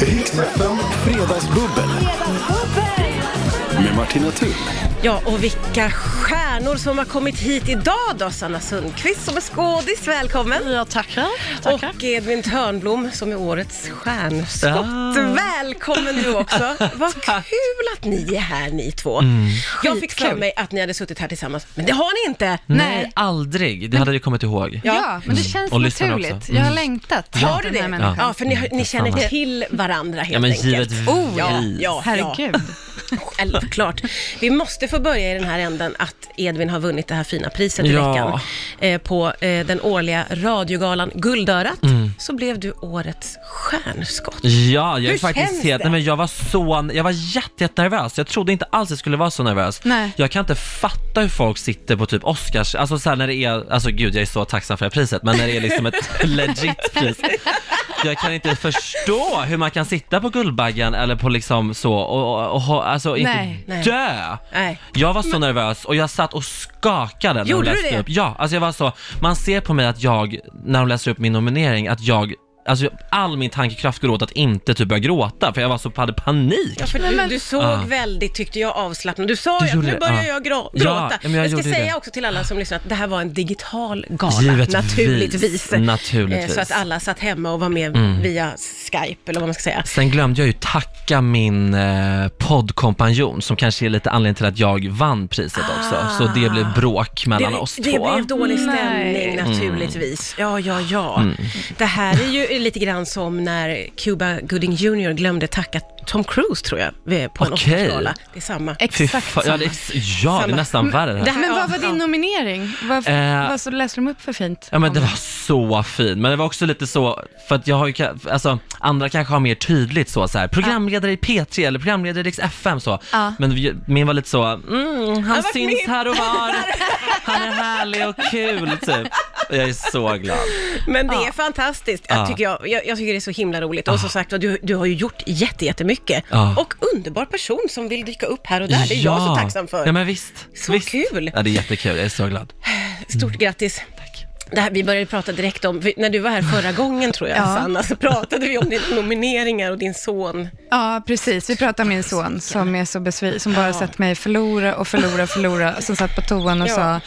Riksfem Fredagsbubbel med Martina Thun. Ja, och vilka stjärnor som har kommit hit idag då. Sanna Sundqvist som är skådis, välkommen. Ja, tackar. tackar. Och Edvin Törnblom som är årets stjärnskott. Ja. Välkommen du också. Vad kul att ni är här ni två. Jag fick för Mm. Skitkul. mig att ni hade suttit här tillsammans, men det har ni inte. Nej, aldrig. Det hade du kommit ihåg. Ja, men det känns Och lyssnar naturligt. också. Jag har Mm. längtat Mm. Har efter du den det? här människan. Ja, för ni, ni känner Detsamma. till varandra helt Ja, men enkelt. givetvis. Oh, Ja, ja, ja. Herregud. Självklart. Vi måste få börja i den här änden att Edvin har vunnit det här fina priset i Ja. veckan. Eh, på eh, den årliga radiogalan Guldörat så blev du årets stjärnskott. Mm. Ja, jag Hur är känns faktiskt helt, det? nej men jag var så, jag var jätte, jättenervös. Jag trodde inte alls jag skulle vara så nervös. Nej. Jag kan inte fatta hur folk sitter på typ Oscars, alltså så här när det är, alltså gud jag är så tacksam för det här priset, men när det är liksom ett legit pris. Jag kan inte förstå hur man kan sitta på Guldbaggen eller på liksom så och, och, och ha- alltså inte Nej. Nej. dö. Nej. Jag var så nervös och jag satt och skakade när Gjorde de du läste det? upp. Ja, alltså jag var så, man ser på mig att jag, när de läser upp min nominering, att jag Alltså jag- all min tankekraft går åt att inte typ börja gråta för jag var så, hade panik. Ja, för du, du såg Ah. väldigt, tyckte jag, avslappnad. Du sa Du ju att gjorde nu det, börjar ah. jag grå- Ja, gråta. men jag jag ska gjorde säga det. också till alla som lyssnar att det här var en digital gala, Givetvis, naturligtvis. naturligtvis. Mm. Eh, Så att alla satt hemma och var med via Skype eller vad man ska säga. Sen glömde jag ju tacka min eh, poddkompanjon som kanske är lite anledningen till att jag vann priset också. Så det blev bråk mellan oss Ah. det, två. Mm. det blev dålig stämning Mm. Nej. naturligtvis. Ja, ja, ja. Det här är ju lite grann som när Cuba Gooding Jr glömde tacka Tom Cruise tror jag, vid- på en Okej. Oscarsgala. Det är samma. Fy Exakt fan, ja, det, samma. är- ja, det är Samma. nästan värre det här. Det här- Men vad ja, var din ja. nominering? Vad, Eh, vad så läste de upp för fint? Ja men det om var så fin, men det var också lite så, för att jag har ju, ka- alltså andra kanske har mer tydligt så, så här, programledare i P3 eller programledare i Rix FM så, Ja. men vi- min var lite så, mm, han varit syns min. här och var, han är härlig och kul typ. Och Jag är så glad. Men det ah. är fantastiskt. Jag Ja. tycker, jag, jag, jag tycker det är så himla roligt. Ah. Och som sagt du, du har ju gjort jätte, jättemycket. Ja. Och underbar person som vill dyka upp här och där. Det är jag så tacksam för. Ah. Ja men visst. Så visst. kul. Ja det är jättekul, jag är så glad. Stort grattis. Det här, vi började prata direkt om, för när du var här förra gången tror jag, Ja. Sanna, så pratade vi om dina nomineringar och din son. Ja, precis. Vi pratar om min son som är så besviken, som bara sett mig förlora och förlora och förlora, som satt på toan och Ja. sa,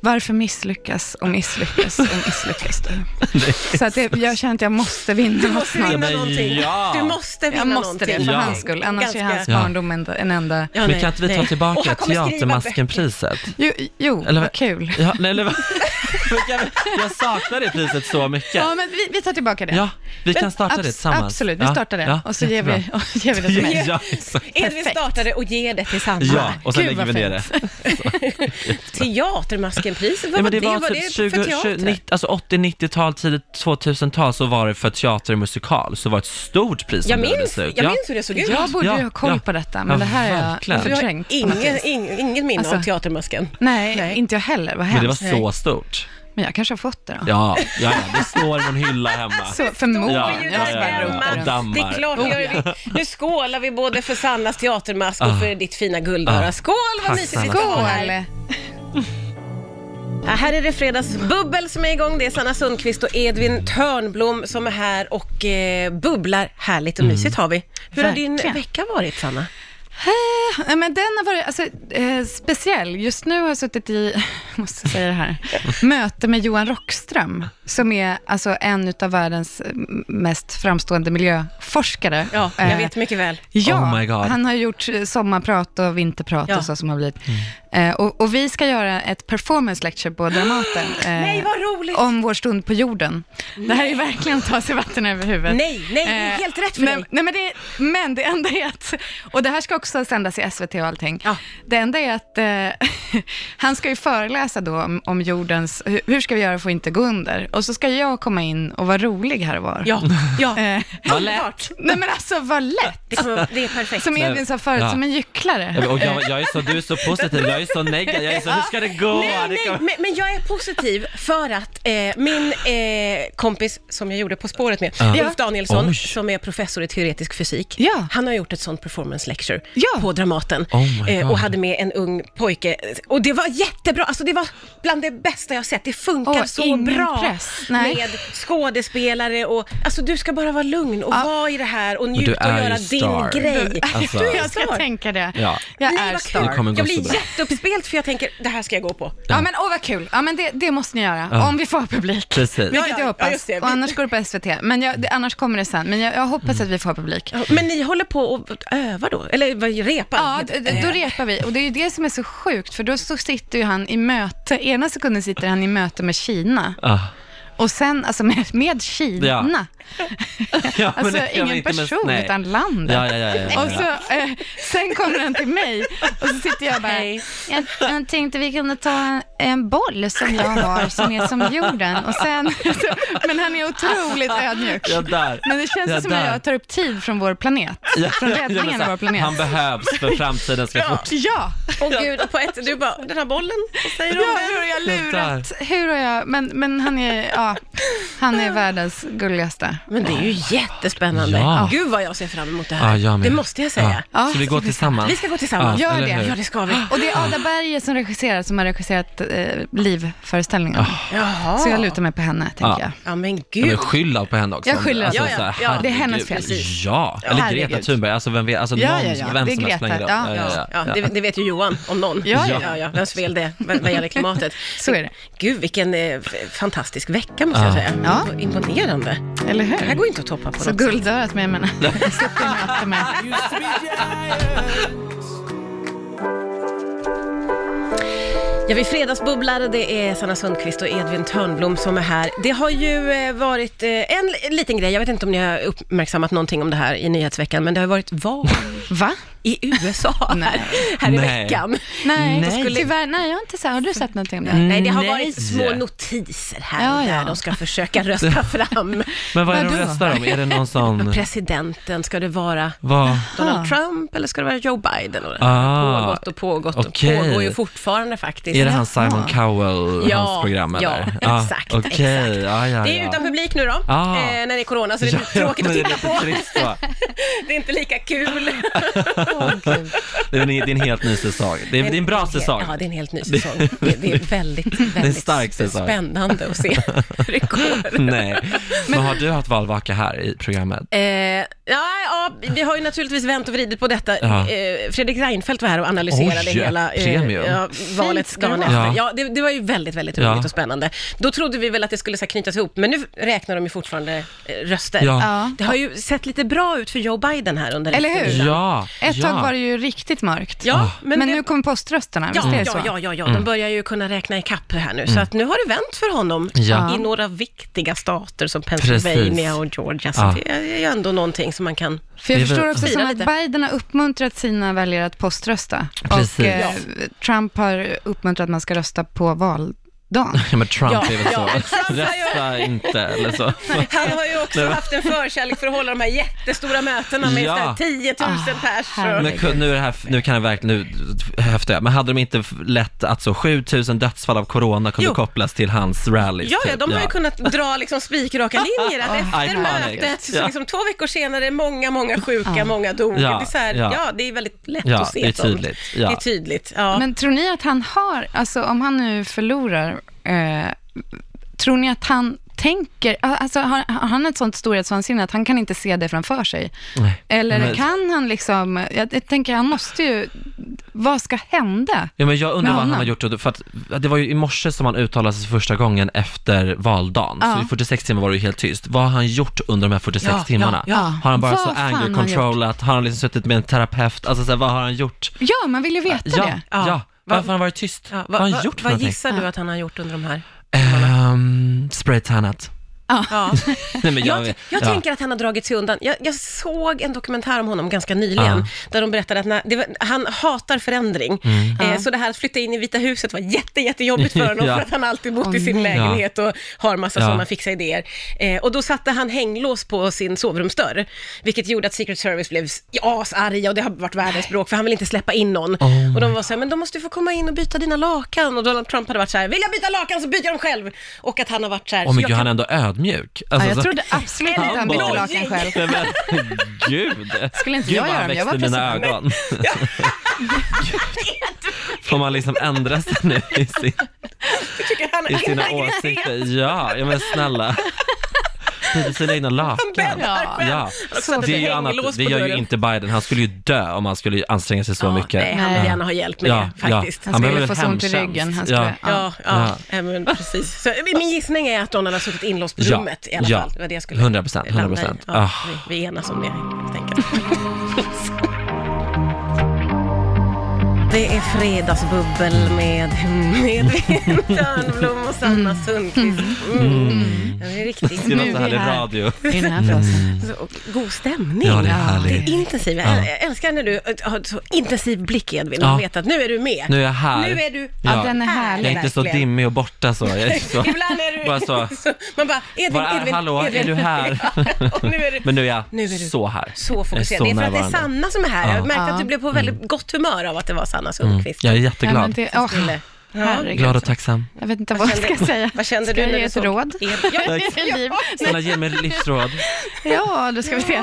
varför misslyckas och misslyckas och misslyckas du? Så att jag, jag känner att jag måste vinna något måste vinna snart. men någonting. ja. Du måste vinna Jag måste det någonting. för Ja. hans skull, annars är hans Ja. barndom en, en enda... Ja, men nej, kan inte vi ta nej. Och tillbaka han kommer skriva teatermaskenpriset? Jo, jo Eller- vad kul. Ja, nej, eller vad? Kan vi- Jag saknar det priset så mycket. Ja, men vi, vi tar tillbaka det. Ja, vi kan starta Abs- det tillsammans. Absolut, vi Ja, startar det. ja, och så ger vi, jättebra. och ger vi det till mig. Ja, exakt. böcker. Edvin Perfekt. startade och ger det till Sanna. Ja, och sen Gud, lägger vi vad ner det. Teatermaskenpriset, vad var Nej, men det? det var Vad typ det 20, för teater? 20, 90, alltså 80, 90-tal, tidigt 2000-tal så var det för teater och musikal, så var det ett stort pris som jag delades minns, ut. jag Ja. minns hur det såg ut. Jag borde Ja, ju ha koll ja. på detta, men Ja, det här har verkligen. jag jag har förträngt. på något ingen, vis. ingen, ingen minne av Alltså- teatermasken. Nej, Nej. inte jag heller. Vad Men det var hemskt. så stort. Men jag kanske har fått det då. Ja, ja, ja, det står i någon hylla hemma. Så förmodligen. Ja, jag ja, ska ja, bara ja. ropa Och runt. dammar. Det är klart vi gör det. Nu skålar vi både för Sannas teatermask och för ditt fina guldöra. Ah. Skål, vad Tack, mysigt vi Sanna. ska ha här. Skål! Ja, här är det Fredagsbubbel som är igång. Det är Sanna Sundqvist och Edvin Törnblom som är här och eh, bubblar. Härligt och mysigt har vi. Hur har din Mm. Verkligen. vecka varit, Sanna? Eh, nej, men den har varit alltså, eh, speciell. Just nu har jag suttit i, jag måste säga det här, möte med Johan Rockström, som är alltså, en av världens eh, mest framstående miljöforskare. Ja, jag Eh, vet mycket väl. Ja, Oh my God. han har gjort eh, sommarprat och vinterprat Ja. Mm. och så som har blivit. Eh, och, och vi ska göra ett performance lecture på Dramaten. eh, Nej, vad roligt! Om vår stund på jorden. Det här är ju verkligen att ta sig vatten över huvudet. Nej, nej, det är Eh, helt rätt för men, dig. Nej, men, det, men det enda är att, och det här ska också sändas i SVT och allting. Ja. Det enda är att eh, han ska ju föreläsa då om, om jordens, hur, hur ska vi göra för att inte gå under? Och så ska jag komma in och vara rolig här och var. Ja, ja. Eh, Vad lätt. Underbart. nej men alltså vad lätt. Det, kommer, det är perfekt. Som Edvin sa förut, Ja. som en gycklare. Och jag, jag är så, du är så positiv, jag är så negativ, jag är så, hur ska det gå? Nej, Det nej, kommer- men, men jag är positiv för att eh, min eh, kompis som jag gjorde På spåret med, Ja. Ulf Danielsson, Oj. som är professor i teoretisk fysik, Ja. han har gjort ett sånt performance lecture Ja. på Dramaten Oh my eh, God. och hade med en ung pojke. Och det var jättebra, alltså det var bland det bästa jag sett. Det funkar Åh, så ingen bra press. Nej. med skådespelare och alltså du ska bara vara lugn och vara i det här och du njuta och, är ju göra star. din grej. Alltså- jag ska star. tänka det. Ja. Jag Nej, är vad star. Det kommer kul. gå Jag så blir bra. jätteuppspelt för jag tänker, det här ska jag gå på. Ja, men åh vad kul. Ja, men det, det måste ni göra. Ja. Om vi får publik. Precis. Vilket Ja, ja, jag ja, hoppas. just det. och annars går det på SVT. Men jag, det, annars kommer det sen. Men jag, jag hoppas Mm. att vi får publik. Men ni håller på och öva då? Eller vad, repar? Ja, d- d- då Eh, repar vi. Och det är ju det som är så sjukt, för då så sitter ju han i möte. Ena sekunden sitter han i möte med Kina. Ah. Och sen, alltså med, med Kina. Ja, men Alltså det- jag vet ingen inte, men- person, nej. utan landet. Ja, ja, ja, ja, ja, Och så, eh, sen kommer han till mig och så sitter jag bara, Hej. jag, jag tänkte vi kunde ta en, en boll som jag har som är som jorden. Och sen, men han är otroligt ödmjuk. Ja, där. Men det känns Ja, som där. att jag tar upp tid från vår planet. Från Ja, men räddningen så- av vår planet. Han behövs för framtiden ska få... Ja, Åh gud, och på ett, du bara, den här bollen, vad säger du om ja den? hur har jag lurat? lurat? Hur har jag, men, men han är, ja, han är världens gulligaste. Men det är ju jättespännande. Ja. Gud vad jag ser fram emot det Ja, här. Ah, jag med. det måste jag säga. Ja. Ja, Ska vi gå tillsammans? Vi ska gå tillsammans. Ja, Gör eller det. hur? Ja, det ska vi. Och det är Ada Berge som regisserar, som har regisserat eh, livföreställningen. Ah. Jaha. Så jag lutar mig på henne, tänker Ja. jag. Ja men Ja, men gud. skylla på henne också. Jag skyller alltså, på henne. så här, Ja, ja. Det är herregud. hennes fel. Ja, eller Herregud. Greta Thunberg. Alltså vem vet, alltså Ja, någon, ja, ja. vem Det är som helst Greta. längre upp. Ja, Ja, det, det vet ju Johan om någon. Ja, ja. ja, ja. Vems fel det är vad vad gäller klimatet. Så är det. Gud vilken eh, f- fantastisk vecka måste jag Ja. säga. Ja. Imponerande. Eller hur? Det här går ju inte att toppa på Så något sätt. guldörat med, jag menar. Jag sitter i möte med. Ja, vi fredagsbubblar, det är Sanna Sundqvist och Edvin Törnblom som är här. Det har ju eh, varit eh, en li- liten grej, jag vet inte om ni har uppmärksammat någonting om det här i nyhetsveckan, men det har varit val Va? i USA här, Nej. här i Nej. veckan. Nej, Nej. Skulle... tyvärr. Nej, jag har inte sett. Har du sett någonting om det? Nej, det har Nej. varit små notiser här Ja, och där ja. de ska försöka rösta fram. Men vad är det de Vadå? röstar om? Är det någon sån... Presidenten, ska det vara Vad? Donald Ah. Trump eller ska det vara Joe Biden? Och det Ah. har pågått och pågått och Okej. pågår ju fortfarande faktiskt. Är det han Simon Cowell, Ja, hans program ja, eller? Ah, exakt, Okej, exakt. ja, ja, Det är ja. utan publik nu då, Ah. eh, när det är corona, så det är Ja, lite tråkigt men att det är titta på. lite trist, va? Det är inte lika kul. Det är en, det är en helt ny säsong. Det är, det är en bra säsong. Ja, det är en helt ny säsong. Det, det är väldigt, väldigt stark säsong. spännande att se hur det går. Nej. Men har du haft valvaka här i programmet? Eh, ja, ja, vi har ju naturligtvis vänt och vridit på detta. Ja. Eh, Fredrik Reinfeldt var här och analyserade Oj, hela eh, premium. ja, valet ska det dagen vara. efter. Ja. Ja. det, det var ju väldigt, väldigt roligt Ja. och spännande. Då trodde vi väl att det skulle så här, knytas ihop, men nu räknar de ju fortfarande eh, röster. Ja. Ja. Det har ju sett lite bra ut för Joe Biden här under Eller hur? eftermiddagen. Ja, Ett ja. tag var det ju riktigt mörkt. Ja, men, Men, det, nu kom poströsterna, Ja, visst är det så? ja, ja, ja, ja. Mm. de börjar ju kunna räkna i kapp här nu, så att nu har det vänt för honom Ja. i några viktiga stater som Pennsylvania Precis. och Georgia, så Ja. det är ju ändå någonting som man kan... För jag Det är väl- förstår också Fira som att lite. Biden har uppmuntrat sina väljare att poströsta. Precis. Och eh, Trump har uppmuntrat att man ska rösta på valdagen. Ja, men Trump Ja, är väl ja, så. Rösta inte eller så. Han har ju också haft en förkärlek för att hålla de här jättestora mötena med Ja. så här 10 000 pers. Ah, herregud. Och... Men kun- nu, är det här, nu kan jag verkligen, nu höftar jag, men hade de inte f- lätt att så 7000 dödsfall av corona kunde Jo. kopplas till hans typ? rally? Ja, ja, de har ju kunnat dra liksom spikraka Ah, linjer att efter Iconic. mötet, så Ja. liksom två veckor senare, många, många Ah. sjuka, många dog. Ja, det, är så här, ja. ja. det är väldigt lätt Ja, att se det är sånt. tydligt. Ja. Det är tydligt, ja. Men tror ni att han har, alltså om han nu förlorar, eh, tror ni att han tänker, alltså har, har han ett sånt storhetsvansinne att han kan inte se det framför sig? Nej. Eller Men- kan han liksom, jag, jag tänker han måste ju, vad ska hända? Ja, men jag undrar Med vad han honom. har gjort, för att det var ju i morse som han uttalade sig första gången efter valdagen, så Ja. i 46 timmar var det ju helt tyst. Vad har han gjort under de här 46 Ja, timmarna? ja, ja. Har han bara Vad så fan har anger han controllat, har han liksom suttit med en terapeut, alltså så här, vad har han gjort? Ja, man vill ju veta Ja, Alltså, det. Ja. ja, Vad- varför har han varit tyst? ja, vad har han gjort för vad någonting? gissar Ah. du att han har gjort under de här? Ehm, spraytannat. Ja. Nej, men Jag, jag, jag, tänker att han har dragit sig undan. Jag, jag såg en dokumentär om honom ganska nyligen, Ja. Mm. där de berättade att när, det var, han hatar förändring. Eh, så det här att flytta in i Vita huset var jätte, jättejobbigt för honom, Ja. för att han alltid bott Åh, i sin nej. lägenhet och har massa Ja. sådana fixa idéer. Eh, och då satte han hänglås på sin sovrumsdörr, vilket gjorde att Secret Service blev s- asarga och det har varit världens bråk, för han vill inte släppa in någon. Oh och de var så här, men de måste ju få komma in och byta dina lakan. Och Donald Trump hade varit så här, vill jag byta lakan så byter jag dem själv. Och att han har varit så här, Åh "Så men jag gud, kan han är ändå ödmjuk. Ja, Alltså, jag så- trodde absolut inte han bytte lakan själv. Nej, men, gud. Skulle inte gud, jag vad göra han om jag växte i var mina president. ögon. Gud. Får man liksom ändra sig nu i, sin, Tycker han i sina är- åsikter? Ja, ja men snälla. Byta sina egna lakan. Ja. Ja. Så Det, är ju ett annat, hänglås det på gör ju dörren. inte Biden. Han skulle ju dö om han skulle anstränga sig så Ja, mycket. Nej, han vill Nej. gärna ha hjälp med det faktiskt. Han, Ja. skulle få behöver väl så ont i hemtjänst. ryggen. Han skulle- ja. Ja, ja, men precis. Så, min gissning är att Donald har suttit inlåst på Ja, rummet i alla ja. fall. Det var det jag skulle 100%, landa i. 100%. Ja, Ah. vi, vi enas om det helt enkelt. Det är fredagsbubbel med Edvin Törnblom och Sanna Sundqvist. Mm. Det är riktigt Det är något Nu så är härlig vi här. radio. I den här Mm. frasen. så- Alltså, och god stämning. Ja, det är Ja. härligt. Intensiv. Jag Ja. jag älskar när du äh, har så intensiv blick Edvin och Ja. vet att nu är du med. Nu är jag här. Nu är du Ja, Ja. den är härlig. Jag är inte så verkligen. dimmig och borta så. Jag är inte så. Ibland är du... Bara så. Man bara, Edvin, Bara, Edvin, hallå, Edvin. är du här? Ja, och nu är du Men nu är jag Nu är du så här. så fokuserad. Jag det är för att det är närvarande. Sanna som är här. Jag Ja. Mm. märkte att Ja. du blev på väldigt gott humör av att det var Sanna Sundqvist. Jag är Ja, men jätteglad. det, åh, Ville. Ja. herregud. Glad och tacksam. Jag vet inte vad jag ska säga. Vad kände ska du jag när ge du ett såg råd? Ed- Ja, liv. Snälla ge mig livsråd. Ja, då ska vi se.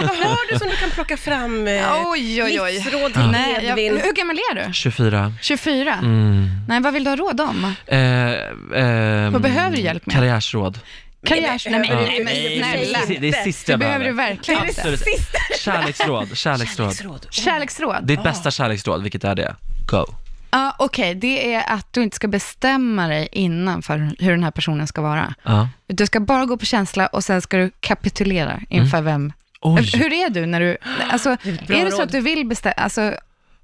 vad har du som du kan plocka fram? eh, Oj, oj, oj. Livsråd till Nej, jag, Edvin. hur gammal är du? 24. 24? Mm. Nej, vad vill du ha råd om? Eh, ehm, Vad behöver du hjälp med? Karriärsråd. Karriärs... Nej, men, Ja. nej, men Nej, snälla. det är det sista Det jag behöver du behöver. verkligen Det är inte. det sista. Kärleksråd. Kärleksråd. Kärleksråd. Kärleksråd? Ditt bästa kärleksråd, vilket är det? Go. Ja, Okej, det är att du inte ska bestämma dig innan för hur den här personen ska vara. Ja. Du ska bara gå på känsla och sen ska du kapitulera inför vem... Mm. Oj. Hur är du när du... Alltså, bra är det så råd. att du vill bestämma... Alltså,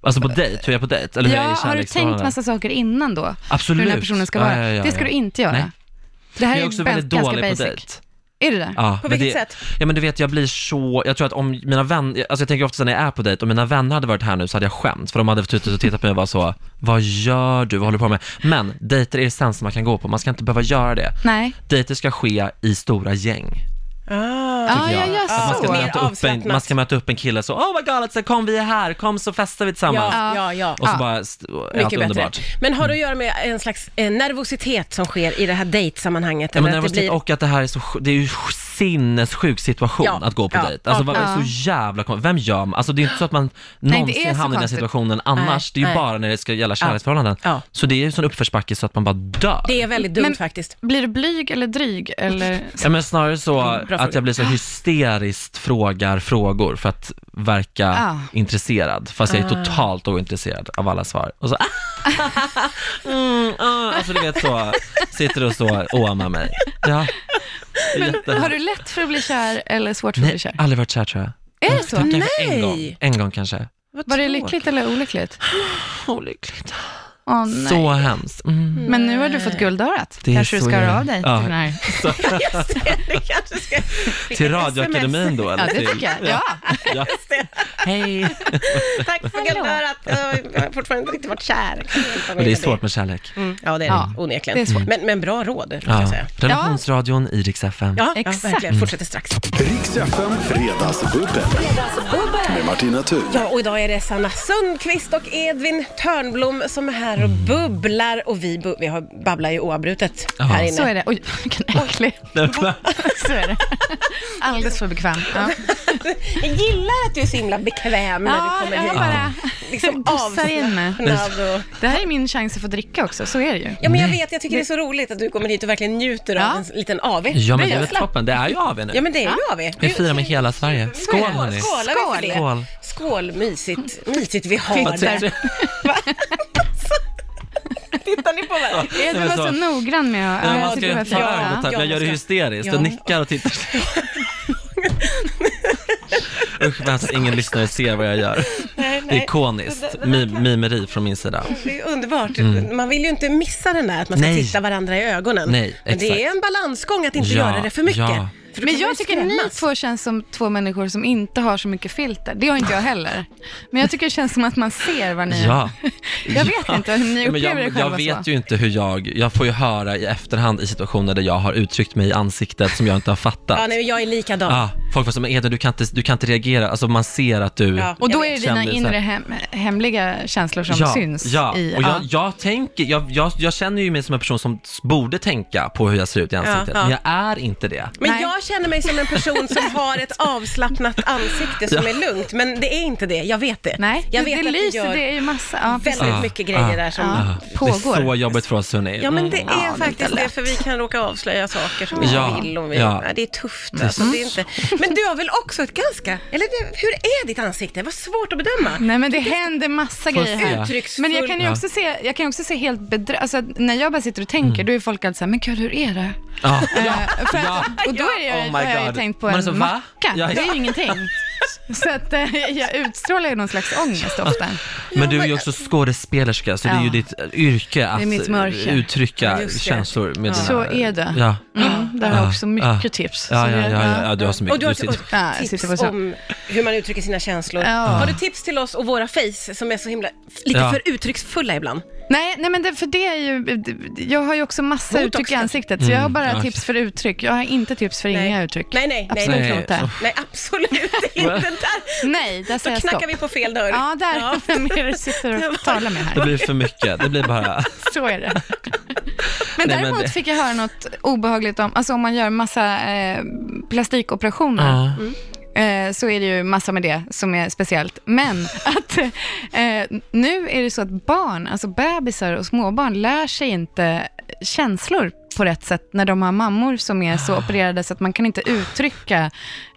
Alltså på dejt? Hur är jag på dejt? Eller hur ja, är jag har i du tänkt kärleksförhållanden? massa saker innan då? Absolut. Hur den här personen ska Ja, vara? ja, ja, det ska ja. du inte göra. Nej. Det här Jag är är också bas- väldigt ganska dålig basic. på dejt. Är det det? Ja, På men vilket det, sätt? Ja men du vet jag blir så, jag tror att om mina vänner, alltså jag tänker ofta när jag är på dejt, om mina vänner hade varit här nu så hade jag skämt för de hade varit ute och tittat på mig och var så, vad gör du, vad håller du på med? Men dejter är det sämsta man kan gå på, man ska inte behöva göra det. Nej. Dejter ska ske i stora gäng. Ah. Ja, tycker ja, jag. ja, Att man, så. ska Mer möta upp en, avslappnat. man ska möta upp en kille så, oh my god, alltså, kom vi är här, kom så festar vi tillsammans. Ja, ja, ja. Och så Ja. bara, st- är allt Mycket bättre. underbart. Mm. Men har det att göra med en slags eh, nervositet som sker i det här dejtsammanhanget? Ja, men eller att det nervositet blir... och att det här är så, sj- det är ju sj- sinnessjuk situation Ja, att gå på ja, dejt. Alltså ja. vad är så jävla kon- Vem gör man? Alltså det är inte så att man det är någonsin så hamnar i den konstigt. situationen annars. Nej, det är ju nej. bara när det ska gälla kärleksförhållanden. Ja. Så det är ju en sån uppförsbacke så att man bara dör. Det är väldigt dumt Men- faktiskt. Blir du blyg eller dryg? Eller... Ja, men snarare så fråga. att jag blir så hysteriskt frågar frågor för att verka Ah. intresserad, fast jag är Ah. totalt ointresserad av alla svar. Och så, mm, ah, alltså du vet så, sitter och så åmar mig. Ja. Jätte- Har du lätt för att bli kär eller svårt för att bli Nej, kär? aldrig varit kär tror jag. Är det så? Typ kanske Nej. En gång, en gång kanske. Var det lyckligt eller olyckligt? Olyckligt. Åh nej. Så hemskt. Mm. Men nu har du fått guldörat. Det är Kanske du så ska höra jävla- av dig Ja. till den här. Just det, du kanske ska skicka Till ett Radioakademin då Ja, eller? det till- tycker jag. Ja. Ja. Hej. sms. Tack för Hallå. guldörat. Jag har fortfarande inte riktigt varit kär. Kan du hjälpa mig Men det är med svårt med kärlek. Mm, Ja, det är Ja, det onekligen. det är svårt. Men, men bra råd, måste jag Ja. säga. Relationsradion i Rix FM. Ja, Exakt. ja verkligen. Fortsätter strax. Mm. Riks FM Fredagsbubbel. Med Martina Thun. Ja, och idag är det Sanna Sundqvist och Edvin Törnblom som är här och bubblar. Och vi, bu- vi har, babblar ju oavbrutet Mm. Ja. här inne. Så är det. Oj, vilken äcklig. Nej, men- Så är det. Alldeles för bekväm. Ja. Jag gillar att du är så himla bekväm när du kommer hit. bara Liksom bussar in mig. avslappnad och... Det här är min chans att få dricka också, så är det ju. Ja, men jag vet, jag tycker det är så roligt att du kommer hit och verkligen njuter av Ja. en s- liten AW. Ja men det är väl Känsla. toppen, det är ju av er nu. Ja, men det är ju AW. Vi firar med hela Sverige. Skål hörni. Skålar vi för det? Skål. Skål, mysigt, mysigt vi har Vad tyckte det. du? Tittar ni på varandra? Ja, Du men var så- så noggrann med att... Ja, Man jag ska tycker det var ta fint. ögontakt, Ja. Ja, jag gör det man ska- hysteriskt, Ja. jag nickar och tittar. Usch, men alltså, ingen lyssnare ser vad jag gör. Nej, Det är nej. Det- ikoniskt, det- det- Mi- mimeri från min sida. Det är underbart. Man vill ju inte missa den där att man ska Mm. Nej. titta varandra i ögonen. Nej, Men det är exakt. en balansgång att inte Ja, göra det för mycket. ja. För då Men kan man ju jag tycker ni skrämmas. två känns som två människor som inte har så mycket filter. Det har inte jag heller. Men jag tycker det känns som att man ser vad ni... Ja. Jag vet inte hur ni Ja, men upplever jag, det själva Jag vet så. ju inte hur jag, jag får ju höra i efterhand i situationer där jag har uttryckt mig i ansiktet som jag inte har fattat. Ja, nej, jag är likadan. Ja, Folk var som, Eden du kan inte, du kan inte reagera, alltså man ser att du... Ja. Och då Jag är det dina Kändisar. inre hem, hemliga känslor som ja, syns ja. i... och jag, ja. jag tänker, jag, jag, jag känner ju mig som en person som s- borde tänka på hur jag ser ut i ansiktet, ja. men jag är inte det. Men Nej. jag känner mig som en person som har ett avslappnat ansikte som Ja. är lugnt, men det är inte det. Jag vet det. Nej, jag det, vet det att det lyser, gör det är ju massa... Ja, precis. väldigt Ah, mycket grejer ah, där som... Ja. Det är Pågår. så jobbigt för oss hörni. Ja, men det Mm. är Ja, det är faktiskt inte det, lätt. för vi kan råka avslöja saker som vi Ja, vill. Om vi, ja. Nej, det är tufft. Alltså, det är inte. Men du har väl också ett ganska... Eller det, hur är ditt ansikte? Vad svårt att bedöma. Nej men det händer massa Får grejer se. här. Uttrycksfullt. Men jag kan ju Ja. också se, jag kan ju också se helt bedrö... Alltså när jag bara sitter och tänker, Mm. då är folk alltid såhär, men gud hur är det? Ja. Eh, för, Ja. Och då är jag, Oh my har jag ju God. tänkt på Man är en så, va? macka, Ja, det är ja. ju ingenting. Så att eh, jag utstrålar ju någon slags ångest ofta. Mm. Men du är ju också skådespelerska, så det är ju Ja. ditt yrke att är mitt mörker. uttrycka Ja, just det. känslor med dina... Så är det. Ja. Mm, där har jag också mycket Ja. tips. Ja, Så ja, det- ja, ja, ja, du har så mycket. Och du har Du sitter- ett Ja, jag sitter på tips så. om hur man uttrycker sina känslor. Ja. Har du tips till oss och våra face som är så himla, lite Ja. för uttrycksfulla ibland? Nej, nej men det, för det är ju, jag har ju också massa Botox uttryck i kanske? ansiktet, så jag har bara Mm. ja, tips för uttryck. Jag har inte tips för Nej. inga uttryck. Nej, nej, nej. Absolut Nej. inte. Nej, absolut inte. Där. Nej, där säger Då jag knackar stopp. vi på fel dörr. Ja, där. Ja. Vem är det du sitter och talar med Det här? blir för mycket, det blir bara... Så är det. Men men däremot det- fick jag höra något obehagligt om, alltså om man gör massa eh, plastikoperationer, Ja. eh, så är det ju massa med det som är speciellt. Men att eh, nu är det så att barn, alltså bebisar och småbarn, lär sig inte känslor på rätt sätt när de har mammor som är Ah. så opererade så att man kan inte uttrycka,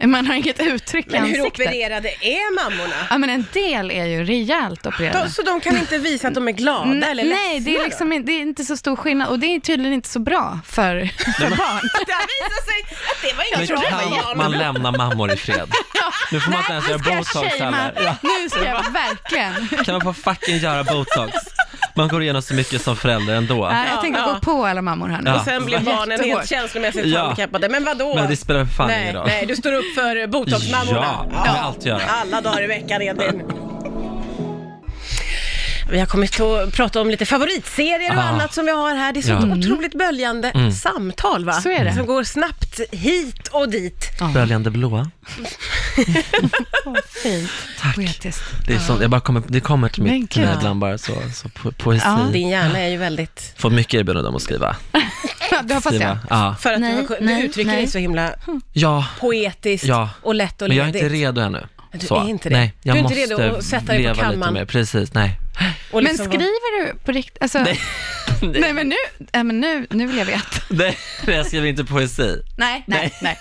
man har inget uttryck i Men hur ansiktet. opererade är mammorna? Ja, men en del är ju rejält opererade. De, så de kan inte visa att de är glada Nej, eller nej ledsna det, är då? liksom, in- det är inte så stor skillnad och det är tydligen inte så bra för, för barn. Det här visar sig att det var Men inget kan man bra. lämna mammor i fred? Nu får man inte ens göra ska jag botox shamea. heller. Ja. Nu ska jag verkligen. Kan man få fucking göra botox? Man går igenom så mycket som förälder ändå. Nej, jag tänker ja. gå på alla mammor här nu. Ja. Och sen blir barnen Jättehårt. helt känslomässigt Ja. handikappade. Men vadå? Men det spelar för fan nej, ingen roll. nej, du står upp för botoxmammorna. Ja, det kommer jag alltid göra. Alla dagar i veckan, Edvin. Vi har kommit att prata om lite favoritserier och Ah. annat som vi har här. Det är så Ja. Mm. otroligt böljande samtal va? Så är det. Som går snabbt hit och dit. Böljande blåa. Åh, fint. Poetiskt. Det, är sånt, jag bara kommer, det kommer till Men mitt gud. knä ibland bara så, så po poesi. Ja. Din hjärna är ju väldigt... Får mycket erbjudanden om att skriva. Alltså, Ja, det hoppas jag. skriva. Ja. För att Nej, du, har- du nej, uttrycker dig nej. så himla ja, poetiskt Ja. och lätt och men jag är ledigt. inte redo ännu. Du så. är inte det. Nej, Du jag är inte måste redo att sätta dig på leva lite kammaren. mer. Precis, nej. Och Men liksom vara- skriver du på riktigt? Alltså, nej. men nu, nej, men nu, nu vill jag veta. nej, jag skriver inte poesi. Nej, nej, nej.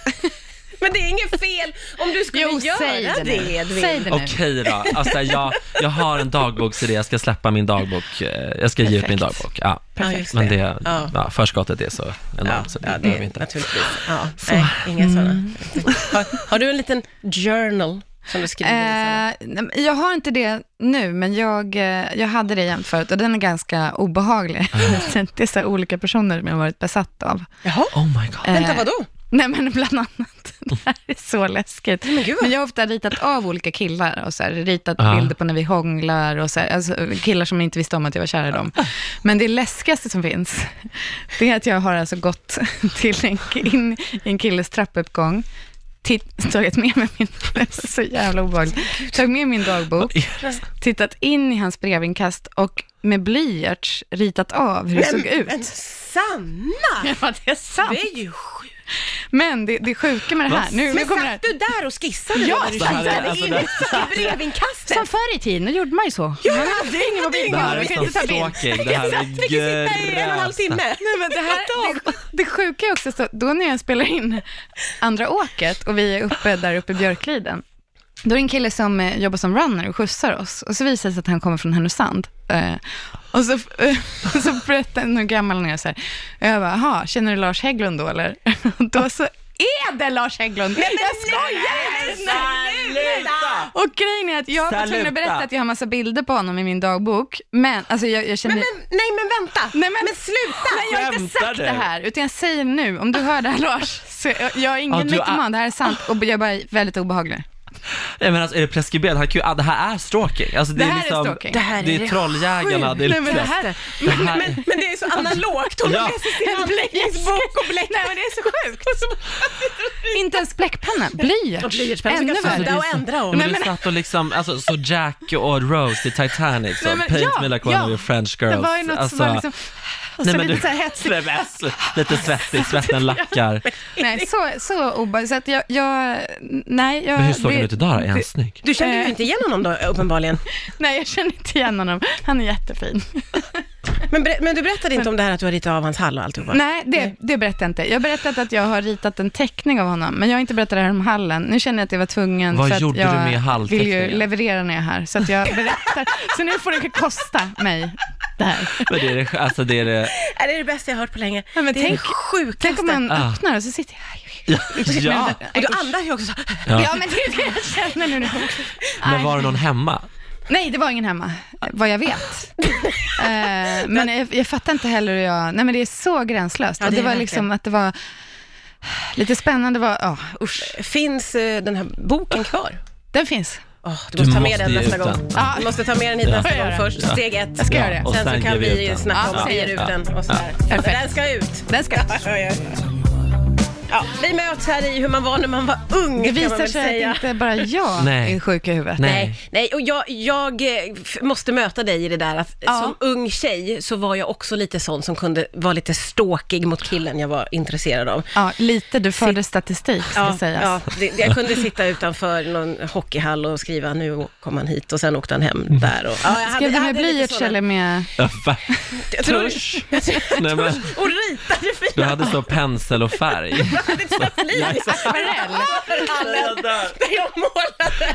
Men det är inget fel om du skulle Jo, göra säg det nu. det, Edvin. Säg det nu. Okej då, alltså jag, jag har en dagboksidé, jag ska släppa min dagbok, eh, jag ska ge ut min Perfekt. dagbok. Ja. Ja, just Men det, det. Ja. Ja, förskottet är så enormt Ja, så det ja, behöver vi det inte. naturligtvis. Ja, nej, inga Mm. sådana. Har, har du en liten journal som du skriver? i Eh, nej, men jag har inte det nu, men jag, eh, jag hade det jämt förut och den är ganska obehaglig. det är så här olika personer som jag har varit besatt av. sen? Jaha, Oh my god. vänta eh, vadå? Nej men bland annat, det här är så läskigt. Men, gud, vad- jag har ofta ritat av olika killar och så här, ritat Ja. bilder på när vi hånglar och så här, alltså, killar som inte visste om att jag var kär i dem. Men det läskigaste som finns, det är att jag har alltså gått till en, in i en killes trappuppgång, titt, tagit med mig min, det är så jävla obehagligt, tagit med min dagbok, tittat in i hans brevinkast och med blyerts ritat av hur det såg Men ut. Sanna! Ja, det är sant. Det är ju sjukt. Men det, det sjuka med det här, nu, nu Men kommer det här. satt du där och skissade Ja, då när du det här är- kikade alltså, in det- i brevinkastet? Som förr i tiden, då gjorde man ju så. man hade ingen Det här mobilkamera, är man kunde inte så ta bild. stalking, det här Jag satt, fick ju sitta i en och en halv är timme. Nej, men det, här, det, det sjuka är också, så, då när jag spelar in Andra åket och vi är uppe där uppe i Björkliden, då är det en kille som eh, jobbar som runner och skjutsar oss och så visar det sig att han kommer från Härnösand. Eh, och så, eh, och så berättar han hur gammal han är och så här, jag bara, jaha, känner du Lars Hägglund då eller? Och då så är det Lars Hägglund! jag skojar inte! Sluta! Och grejen är att jag var tvungen Saluta. att berätta att jag har massa bilder på honom i min dagbok, men alltså jag, jag känner... Men, nej men vänta! Nej, men- men sluta! Nej, jag har inte Skämtar sagt du? det här, utan jag säger nu, om du hör det här Lars, så jag, jag är ingen Ja, du är- mytoman, det här är sant och jag är bara väldigt obehaglig. Nej men alltså är det preskriberat? Han kan ju, ah, det här är stalking. Alltså, det, Det här är är liksom, stalking. Det här är det är det trolljägarna. Det är Nej, men det liksom, här, det här, Men, men det är så analogt, hon Ja. läser sin anteckningsbok och bläck. Nej, men det är så sjukt. Inte ens bläckpenna, Och blyet. blyertspenna som Ännu kan värre. föda och ändra om. men Nej, du men- satt och liksom, alltså, så Jack och Rose i Titanic, så, Nej, men- paint ja, me like one ja. of your French girls. alltså- Det var ju något som var liksom... Och så men lite du- så här hetsigt. Nej, men alltså, Lite svettig, svetten lackar. Nej, så, så obehagligt. Så att jag, jag... Nej, jag... Men hur såg han det- ut idag då? Är han snygg? Du känner ju Eh. inte igen honom då, uppenbarligen. Nej, jag känner inte igen honom. Han är jättefin. Men, ber- men du berättade inte om det här att du har ritat av hans hall och alltihopa? Nej, det, det berättar jag inte. Jag har berättat att jag har ritat en teckning av honom, men jag har inte berättat det här om hallen. Nu känner jag att jag var tvungen, Vad för att gjorde jag du med vill ju hallteckningen? leverera när jag är här, så att jag berättar. Så nu får det kosta mig det här. Men det är det, alltså det är det, Är det det bästa jag har hört på länge? Ja, men det är tänk- det sjukaste. Tänk om man Ah. öppnar och så sitter jag här. ja, Men- ja. Och du andas ju också så. Ja. Ja, men det är det jag känner nu. Men var det någon hemma? Nej, det var ingen hemma, vad jag vet. Eh, men jag, jag fattar inte heller hur jag... Nej, men det är så gränslöst. Ja, och det det är var verkligen. liksom att det var lite spännande. Var, ja, usch. Finns eh, den här boken kvar? Den finns. Åh, du Du måste ta måste med den ge nästa ut gång. den. Ja. Du måste ta med den hit Ja. nästa Får jag gång göra? först. Steg ett. ska göra det. och Sen så sen kan ger vi ut den. snacka Ja, om vi ger ut precis. den och sådär. Men Perfekt. Den ska ut. Den ska Ja, vi möts här i hur man var när man var ung. Det kan man visar väl sig säga. att inte bara jag Nej. är sjuk i huvudet. Nej. Nej, nej, och jag, jag eh, f- måste möta dig i det där att Ja. som ung tjej så var jag också lite sån som kunde vara lite ståkig mot killen jag var intresserad av. Ja, lite. Du förde statistik, ska Ja, sägas. ja det, det, jag kunde sitta utanför någon hockeyhall och skriva nu kom han hit och sen åkte han hem Mm. där. Och, ja, jag Skrev du jag med lite blyerts sådana- eller med... Ja, va? Jag tror- Tusch! Jag tror- Nej, men, Och ritade du fina hade så pensel och färg. Akvarell? hallen där jag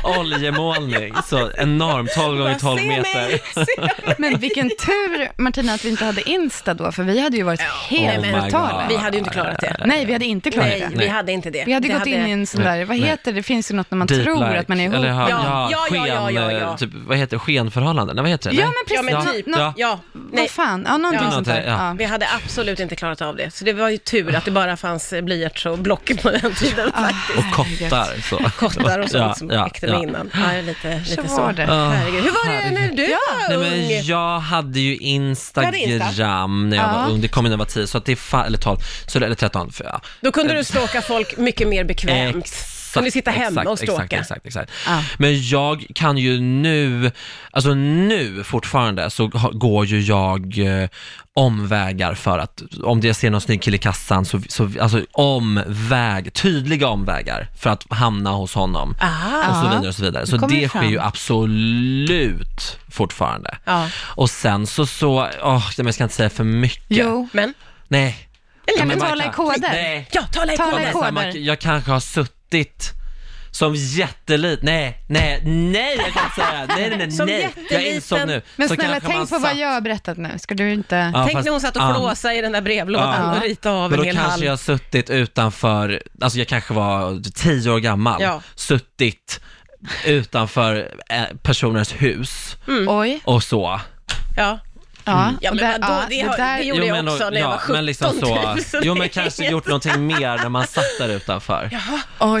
målade. Oljemålning, så enorm, 12 gånger Bara, 12 se meter. mig, se mig. Men vilken tur, Martina, att vi inte hade Insta då, för vi hade ju varit helt Oh my brutala. God. Vi hade ju inte klarat det. Nej, vi hade inte klarat Nej, det. vi hade inte det. Vi hade Det gått in i en sån där, vad Nej. heter det, det finns ju något när man Deep tror like, att man är ihop. Eller, ja, Ja, ja, ja, ja, sken, ja, ja, ja. Typ, vad heter det? Skenförhållanden? Nej, vad heter det? Ja, Nej. men precis. Ja, men Ja, typ. ja. Ja. Nej, Vad fan, ja, någonting Ja. sånt där. Ja. Vi hade absolut inte klarat av det, så det var ju tur att det bara fanns eh, blyerts och block på den tiden. faktiskt. Och kottar. Så. Kottar och sånt Ja, som ja, äckte mig ja. innan. Ja, det är lite, Så lite så. var det. Ja. Herregud. Hur var det när Herregud. du var Nej, ung? men jag hade ju Instagram hade Insta. när jag Ja. var ung. Det kom när jag var 10, så att det är fa- eller 12, så, eller 13. För, ja. Då kunde du stalka folk mycket mer bekvämt. kunde sitta hemma exakt, och stalka. Exakt, exakt, exakt. Ja. Men jag kan ju nu, alltså nu fortfarande så ha- går ju jag eh, omvägar för att, om jag ser någon snygg kille i kassan, så, så alltså omväg, tydliga omvägar för att hamna hos honom. Ah. Och så Ja. vidare och så vidare. Nu Så kommer det det fram. sker ju absolut fortfarande. Ja. Och sen så, så, åh, nej, men jag ska inte säga för mycket. Jo, Men, Nej. kan Ja, du men man tala i kan- koder? Nej. ja, tala i Tala Ja, i koden. men koder. samma- Jag kanske har suttit som jätteliten, nej, nej, nej, jag kan inte säga, nej, nej, nej, Som nej. jag jätteliten. insåg nu. men Så snälla kanske man tänk på vad satt- jag har berättat nu, ska du inte... Ja, Tänk fast- när hon satt och ja. flåsade i den där brevlådan Ja. och ritade av en Men då hel kanske hall. jag har suttit utanför, alltså jag kanske var tio år gammal, Ja. suttit utanför eh, personers hus Oj, och så. Ja. Mm. ja. Mm. Ja, och men där- vadå? ja, Det har- där- det gjorde jag men då- också när jag var 17 men liksom så, typ, så Jo det men är kanske inget- gjort någonting mer när man satt där utanför. Oj,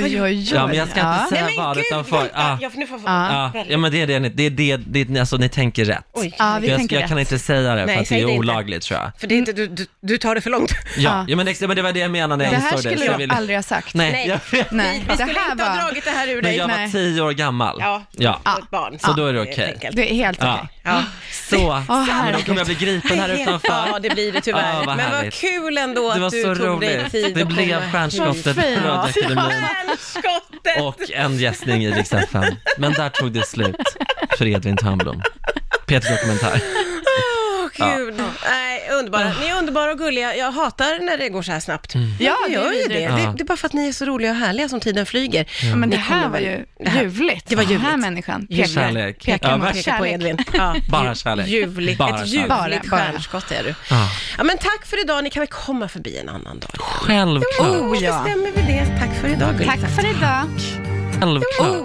oj, oj. Ja, men jag ska inte säga- Nej Jag men var gud, utanför. vänta. Ah. Jag, nu får jag Ja. Ja, ja men det är det, ni- det, är det, det alltså ni tänker rätt. Oj. Ja, vi jag tänker jag rätt. kan inte säga det Nej, för att säg det är det inte. olagligt tror jag. För det är inte, du, du, du tar det för långt. Ja, ja men, ex- men det var det jag menade när Det jag här insåg det. skulle så jag ville- aldrig ha sagt. Nej, Nej. jag vet. Vi Nej, skulle det här inte ha var... dragit det här ur Men dig. jag var Nej. tio år gammal. Ja, Ah. ja. på ett barn. Så då är det helt okej. enkelt. Det är helt okej. Ja. Ja. Så, Åh, men då herregud. kommer jag bli gripen här Ja, utanför. det blir det tyvärr. Ja, vad men vad härligt. kul ändå Det att var du så tog dig tid roligt. Det att komma blev hit. stjärnskottet på Vad fint. Radioakademin Stjärnskottet! och en gästning i Rix FM. Men där tog det slut för Edvin Törnblom. Peters dokumentär. Åh gud. Nej, underbara. Ah. Ni är underbara och gulliga. Jag hatar när det går så här snabbt. Mm. Ja, Jag det gör är ju ju det. det. Det, det är bara för att ni är så roliga och härliga som tiden flyger. Ja, men det Ni här kommer var väl- ju det här- ljuvligt. Det var Den här ljuvligt. människan. Ljuvligt. pekar- Kärlek. Pekar Ja, man pekar på kärlek. Edvin. Ja. Bara kärlek. Ljuvligt. Bara Ett kärlek. ljuvligt Bara, bara. stjärnskott är du. Ja. Ja, men tack för idag. Ni kan väl komma förbi en annan dag? Självklart. Oh, ja. Bestämmer vi det. Tack för idag, Gullis. Tack för idag. Självklart.